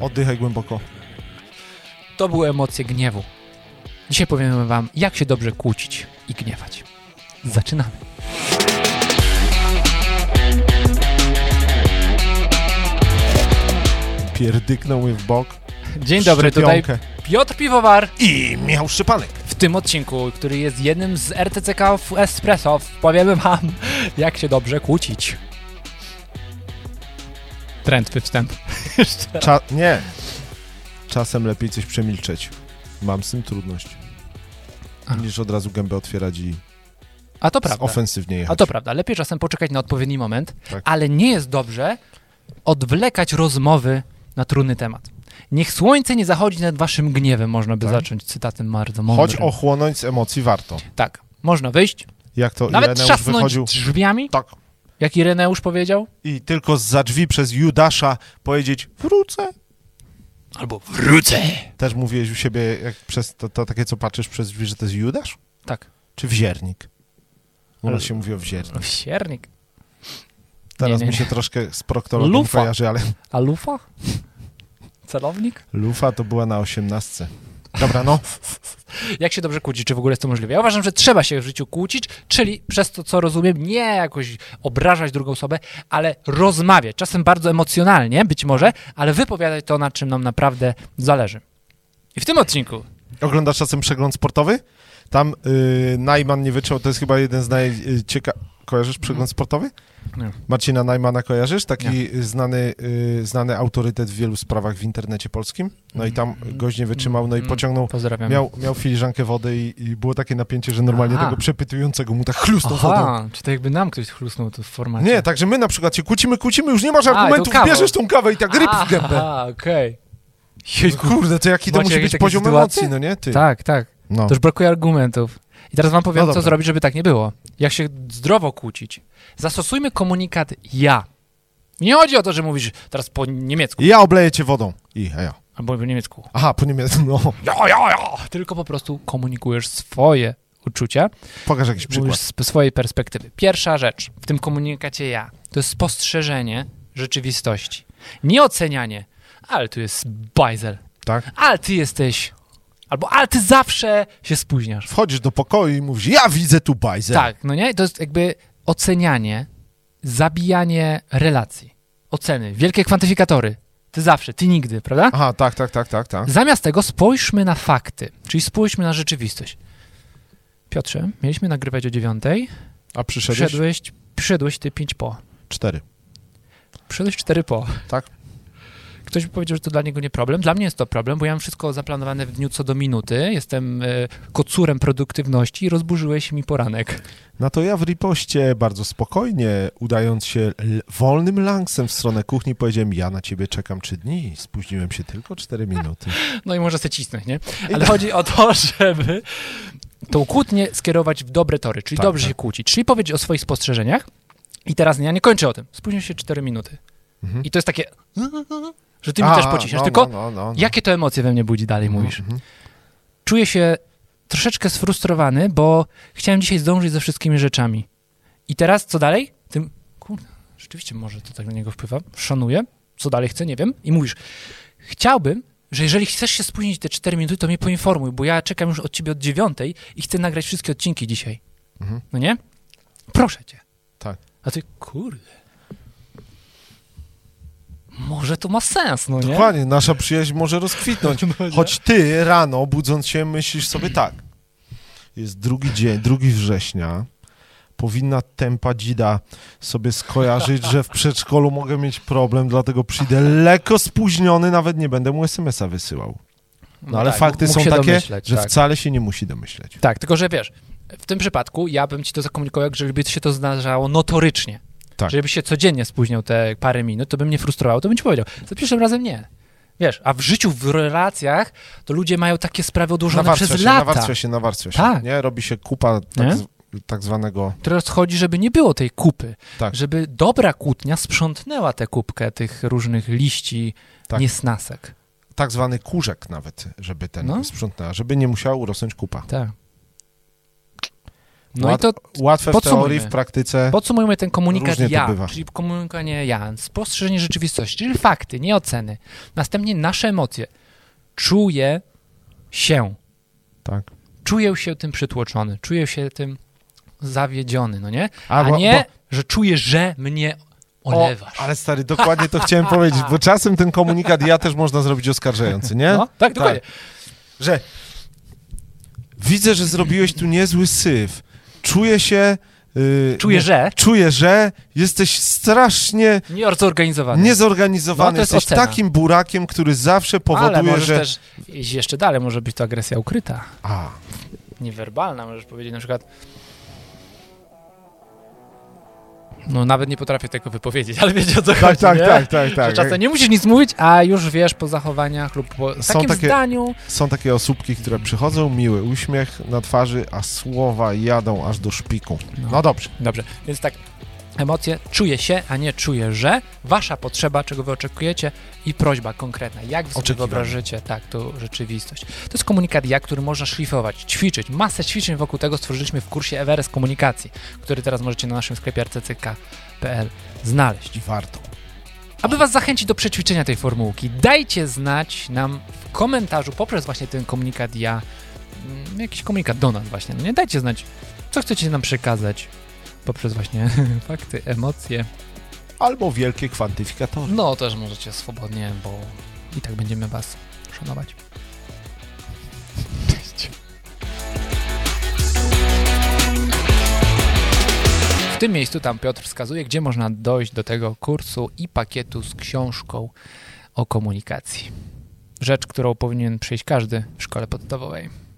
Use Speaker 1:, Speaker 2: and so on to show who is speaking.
Speaker 1: Oddychaj głęboko.
Speaker 2: To były emocje gniewu. Dzisiaj powiemy Wam, jak się dobrze kłócić i gniewać. Zaczynamy.
Speaker 1: Pierdyknął mnie w bok.
Speaker 2: Dzień dobry, tutaj
Speaker 1: Szczepionkę.
Speaker 2: Piotr Piwowar
Speaker 1: I miał szypanek.
Speaker 2: w tym odcinku, który jest jednym z RTCK w Espresso. Powiemy Wam, jak się dobrze kłócić. Trend wstęp. Jeszcze raz.
Speaker 1: Cza- nie. Czasem lepiej coś przemilczeć. Mam z tym trudność.
Speaker 2: A.
Speaker 1: Niż od razu gębę otwierać i
Speaker 2: A to prawda.
Speaker 1: ofensywnie jechać.
Speaker 2: A to prawda, lepiej czasem poczekać na odpowiedni moment,
Speaker 1: Tak.
Speaker 2: ale nie jest dobrze odwlekać rozmowy na trudny temat. Niech słońce nie zachodzi nad waszym gniewem, można by
Speaker 1: Tak.
Speaker 2: zacząć cytatem bardzo mądrym.
Speaker 1: Choć ochłonąć z emocji warto.
Speaker 2: Tak, można wyjść,
Speaker 1: Jak to
Speaker 2: nawet
Speaker 1: Ireneusz
Speaker 2: trzasnąć
Speaker 1: wychodził.
Speaker 2: drzwiami,
Speaker 1: Tak.
Speaker 2: jak Ireneusz powiedział,
Speaker 1: I tylko za drzwi przez Judasza powiedzieć wrócę.
Speaker 2: albo wrócę.
Speaker 1: Też mówiłeś u siebie, jak przez to, to takie, co patrzysz przez drzwi, że to jest Judasz?
Speaker 2: Tak,
Speaker 1: Czy wziernik? U
Speaker 2: Ale-
Speaker 1: nas się mówi o wziernik.
Speaker 2: w siernik.
Speaker 1: Teraz
Speaker 2: nie,
Speaker 1: mi się
Speaker 2: nie.
Speaker 1: troszkę z proktologiem
Speaker 2: Lufa.
Speaker 1: kojarzy, ale
Speaker 2: A lufa? Celownik?
Speaker 1: lufa to była na osiemnastce. Dobra, no.
Speaker 2: Jak się dobrze kłócić, czy w ogóle jest to możliwe? Ja uważam, że trzeba się w życiu kłócić, czyli przez to, co rozumiem, nie jakoś obrażać drugą osobę, ale rozmawiać, czasem bardzo emocjonalnie być może, ale wypowiadać to, na czym nam naprawdę zależy. I w tym odcinku
Speaker 1: Oglądasz czasem przegląd sportowy? Tam yy, Najman nie wyczuł, to jest chyba jeden z najciekawszych... Kojarzysz przegląd sportowy?
Speaker 2: Nie.
Speaker 1: Marcina Najmana kojarzysz? Taki znany, yy, znany autorytet w wielu sprawach w internecie polskim. No i tam gość nie wytrzymał, no i
Speaker 2: Mm.
Speaker 1: pociągnął
Speaker 2: pozdrawiam.
Speaker 1: Miał, miał filiżankę wody i, i było takie napięcie, że normalnie
Speaker 2: Aha.
Speaker 1: tego przepytującego mu tak chlusnął wodą.
Speaker 2: Aha, czy to jakby nam ktoś chlusnął tu w formacie?
Speaker 1: Nie, także my na przykład się kłócimy, kłócimy, już nie masz
Speaker 2: i tą
Speaker 1: argumentów,
Speaker 2: kawą.
Speaker 1: bierzesz tą kawę i tak ryb w gębę.
Speaker 2: Aha, okej. Jejku.
Speaker 1: No Kurde, to jaki to
Speaker 2: Macie
Speaker 1: musi
Speaker 2: jakieś
Speaker 1: być
Speaker 2: takie
Speaker 1: poziom
Speaker 2: sytuacje?
Speaker 1: emocji, no nie? Ty.
Speaker 2: Tak, tak.
Speaker 1: No.
Speaker 2: To już brakuje argumentów. I teraz wam powiem,
Speaker 1: No
Speaker 2: co
Speaker 1: dobra.
Speaker 2: zrobić, żeby tak nie było. Jak się zdrowo kłócić. Zastosujmy komunikat ja. Nie chodzi o to, że mówisz teraz po niemiecku.
Speaker 1: I ja obleję cię wodą. I ja.
Speaker 2: Albo po niemiecku.
Speaker 1: Aha, po niemiecku, no.
Speaker 2: Ja, ja, ja. Tylko po prostu komunikujesz swoje uczucia,
Speaker 1: Pokaż jakiś
Speaker 2: mówisz
Speaker 1: przykład.
Speaker 2: z swojej perspektywy. Pierwsza rzecz w tym komunikacie ja to jest spostrzeżenie rzeczywistości. Nie ocenianie. Ale tu jest bajzel.
Speaker 1: Tak?
Speaker 2: Ale ty jesteś. Albo ale ty zawsze się spóźniasz.
Speaker 1: Wchodzisz do pokoju i mówisz, ja widzę tu bajzę.
Speaker 2: Tak, no nie? To jest jakby ocenianie, zabijanie relacji, oceny, wielkie kwantyfikatory. Ty zawsze, ty nigdy, prawda?
Speaker 1: Aha, tak, tak, tak, tak, tak.
Speaker 2: Zamiast tego spójrzmy na fakty, czyli spójrzmy na rzeczywistość. Piotrze, mieliśmy nagrywać o dziewiątej.
Speaker 1: A przyszedłeś?
Speaker 2: Przyszedłeś, przyszedłeś ty pięć po.
Speaker 1: Cztery.
Speaker 2: Przyszedłeś cztery po.
Speaker 1: Tak.
Speaker 2: Ktoś mi powiedział, że to dla niego nie problem. Dla mnie jest to problem, bo ja mam wszystko zaplanowane w dniu co do minuty. Jestem e, kocurem produktywności i rozburzyłeś mi poranek.
Speaker 1: No to ja w ripoście bardzo spokojnie, udając się l- wolnym langsem w stronę kuchni, powiedziałem, ja na ciebie czekam trzy dni. Spóźniłem się tylko cztery minuty.
Speaker 2: No i może se cisnąć, nie?
Speaker 1: I
Speaker 2: Ale chodzi o to, żeby tą kłótnię skierować w dobre tory, czyli
Speaker 1: Tak,
Speaker 2: dobrze
Speaker 1: tak.
Speaker 2: się kłócić, czyli powiedzieć o swoich spostrzeżeniach. I teraz ja nie kończę o tym. Spóźnił się 4 minuty.
Speaker 1: Mhm.
Speaker 2: I to jest takie, że ty mi też pociśniesz.
Speaker 1: no,
Speaker 2: Tylko
Speaker 1: No, no, no, Mhm. no.
Speaker 2: jakie to emocje we mnie budzi dalej, mówisz? Czuję się troszeczkę sfrustrowany, bo chciałem dzisiaj zdążyć ze wszystkimi rzeczami. I teraz co dalej? Tym, kurde, rzeczywiście może to tak na niego wpływa. Szanuję. Co dalej chcę, nie wiem. I mówisz, chciałbym, że jeżeli chcesz się spóźnić te 4 minuty, to mnie poinformuj, bo ja czekam już od ciebie od dziewiątej i chcę nagrać wszystkie odcinki dzisiaj.
Speaker 1: Mhm.
Speaker 2: No nie? Proszę cię.
Speaker 1: Tak.
Speaker 2: A ty, kurde. Może to ma sens, no nie?
Speaker 1: Dokładnie, nasza przyjaźń może rozkwitnąć.
Speaker 2: No nie?
Speaker 1: Choć ty rano, budząc się, myślisz sobie tak. Jest drugi dzień, drugi września. Powinna tempa dzida sobie skojarzyć, że w przedszkolu mogę mieć problem, dlatego przyjdę lekko spóźniony, nawet nie będę mu SMS-a wysyłał. No ale
Speaker 2: tak,
Speaker 1: fakty
Speaker 2: mógł
Speaker 1: są
Speaker 2: się
Speaker 1: takie,
Speaker 2: domyśleć,
Speaker 1: że
Speaker 2: tak.
Speaker 1: wcale się nie musi domyśleć.
Speaker 2: Tak, tylko że wiesz, w tym przypadku ja bym ci to zakomunikował, jak żeby się to zdarzało notorycznie.
Speaker 1: Tak.
Speaker 2: Żeby się codziennie spóźniał te parę minut, to bym nie frustrował, to bym ci powiedział. Za pierwszym razem nie. Wiesz, a w życiu, w relacjach, to ludzie mają takie sprawy odłożone
Speaker 1: Nawarstwia
Speaker 2: przez
Speaker 1: się,
Speaker 2: lata,
Speaker 1: nawarstwia się, nawarstwia się.
Speaker 2: Tak.
Speaker 1: Nie? Robi się kupa tak,
Speaker 2: Nie?
Speaker 1: z, tak zwanego...
Speaker 2: które chodzi, żeby nie było tej kupy.
Speaker 1: Tak.
Speaker 2: Żeby dobra kłótnia sprzątnęła tę kupkę tych różnych liści,
Speaker 1: Tak.
Speaker 2: niesnasek.
Speaker 1: tak zwany kurzek nawet, żeby ten
Speaker 2: No.
Speaker 1: sprzątnęła, żeby nie musiała urosnąć kupa.
Speaker 2: Tak. No
Speaker 1: Łat-
Speaker 2: i to
Speaker 1: Łatwe w
Speaker 2: podsumujmy.
Speaker 1: teorii, w praktyce.
Speaker 2: podsumujmy ten komunikat
Speaker 1: Różnie to
Speaker 2: ja,
Speaker 1: bywa.
Speaker 2: czyli komunikowanie ja, spostrzeżenie rzeczywistości, czyli fakty, nie oceny. Następnie nasze emocje. Czuję się,
Speaker 1: Tak.
Speaker 2: czuję się tym przytłoczony, czuję się tym zawiedziony, no nie?
Speaker 1: A,
Speaker 2: A
Speaker 1: bo-
Speaker 2: nie, że czuję, że mnie
Speaker 1: O,
Speaker 2: olewasz.
Speaker 1: ale stary, dokładnie to chciałem powiedzieć, bo czasem ten komunikat ja też można zrobić oskarżający, nie?
Speaker 2: No, tak, dokładnie.
Speaker 1: Że widzę, że zrobiłeś tu niezły syf. Czuję się... Yy,
Speaker 2: Czuję, że
Speaker 1: Czuję, że jesteś strasznie
Speaker 2: nieorganizowany.
Speaker 1: niezorganizowany.
Speaker 2: No, to jest
Speaker 1: jesteś
Speaker 2: ocena.
Speaker 1: takim burakiem, który zawsze
Speaker 2: ale
Speaker 1: powoduje,
Speaker 2: możesz
Speaker 1: że...
Speaker 2: też iść jeszcze dalej, może być to agresja ukryta,
Speaker 1: A,
Speaker 2: niewerbalna, możesz powiedzieć na przykład no nawet nie potrafię tego wypowiedzieć, ale wiecie o co
Speaker 1: tak,
Speaker 2: chodzi,
Speaker 1: tak,
Speaker 2: nie?
Speaker 1: tak, tak, tak.
Speaker 2: Że czasem nie musisz nic mówić, a już wiesz po zachowaniach lub po
Speaker 1: Są
Speaker 2: takim
Speaker 1: takie-
Speaker 2: zdaniu.
Speaker 1: Są takie osóbki, które przychodzą, miły uśmiech na twarzy, a słowa jadą aż do szpiku. No, dobrze.
Speaker 2: Dobrze, więc tak, emocje czuję się, a nie czuję, że wasza potrzeba, czego wy oczekujecie i prośba konkretna, jak wy sobie
Speaker 1: Oczekiwania.
Speaker 2: wyobrażycie tak, tą rzeczywistość. To jest komunikat ja, który można szlifować, ćwiczyć, masę ćwiczeń wokół tego stworzyliśmy w kursie Everest Komunikacji, który teraz możecie na naszym sklepie rcck.pl znaleźć.
Speaker 1: I warto.
Speaker 2: Aby Was zachęcić do przećwiczenia tej formułki, dajcie znać nam w komentarzu poprzez właśnie ten komunikat ja, mm, jakiś komunikat do nas właśnie, no nie? Dajcie znać, co chcecie nam przekazać poprzez właśnie fakty, emocje.
Speaker 1: Albo wielkie kwantyfikatory.
Speaker 2: No, też możecie swobodnie, bo i tak będziemy Was szanować. W tym miejscu tam Piotr wskazuje, gdzie można dojść do tego kursu i pakietu z książką o komunikacji. Rzecz, którą powinien przejść każdy w szkole podstawowej.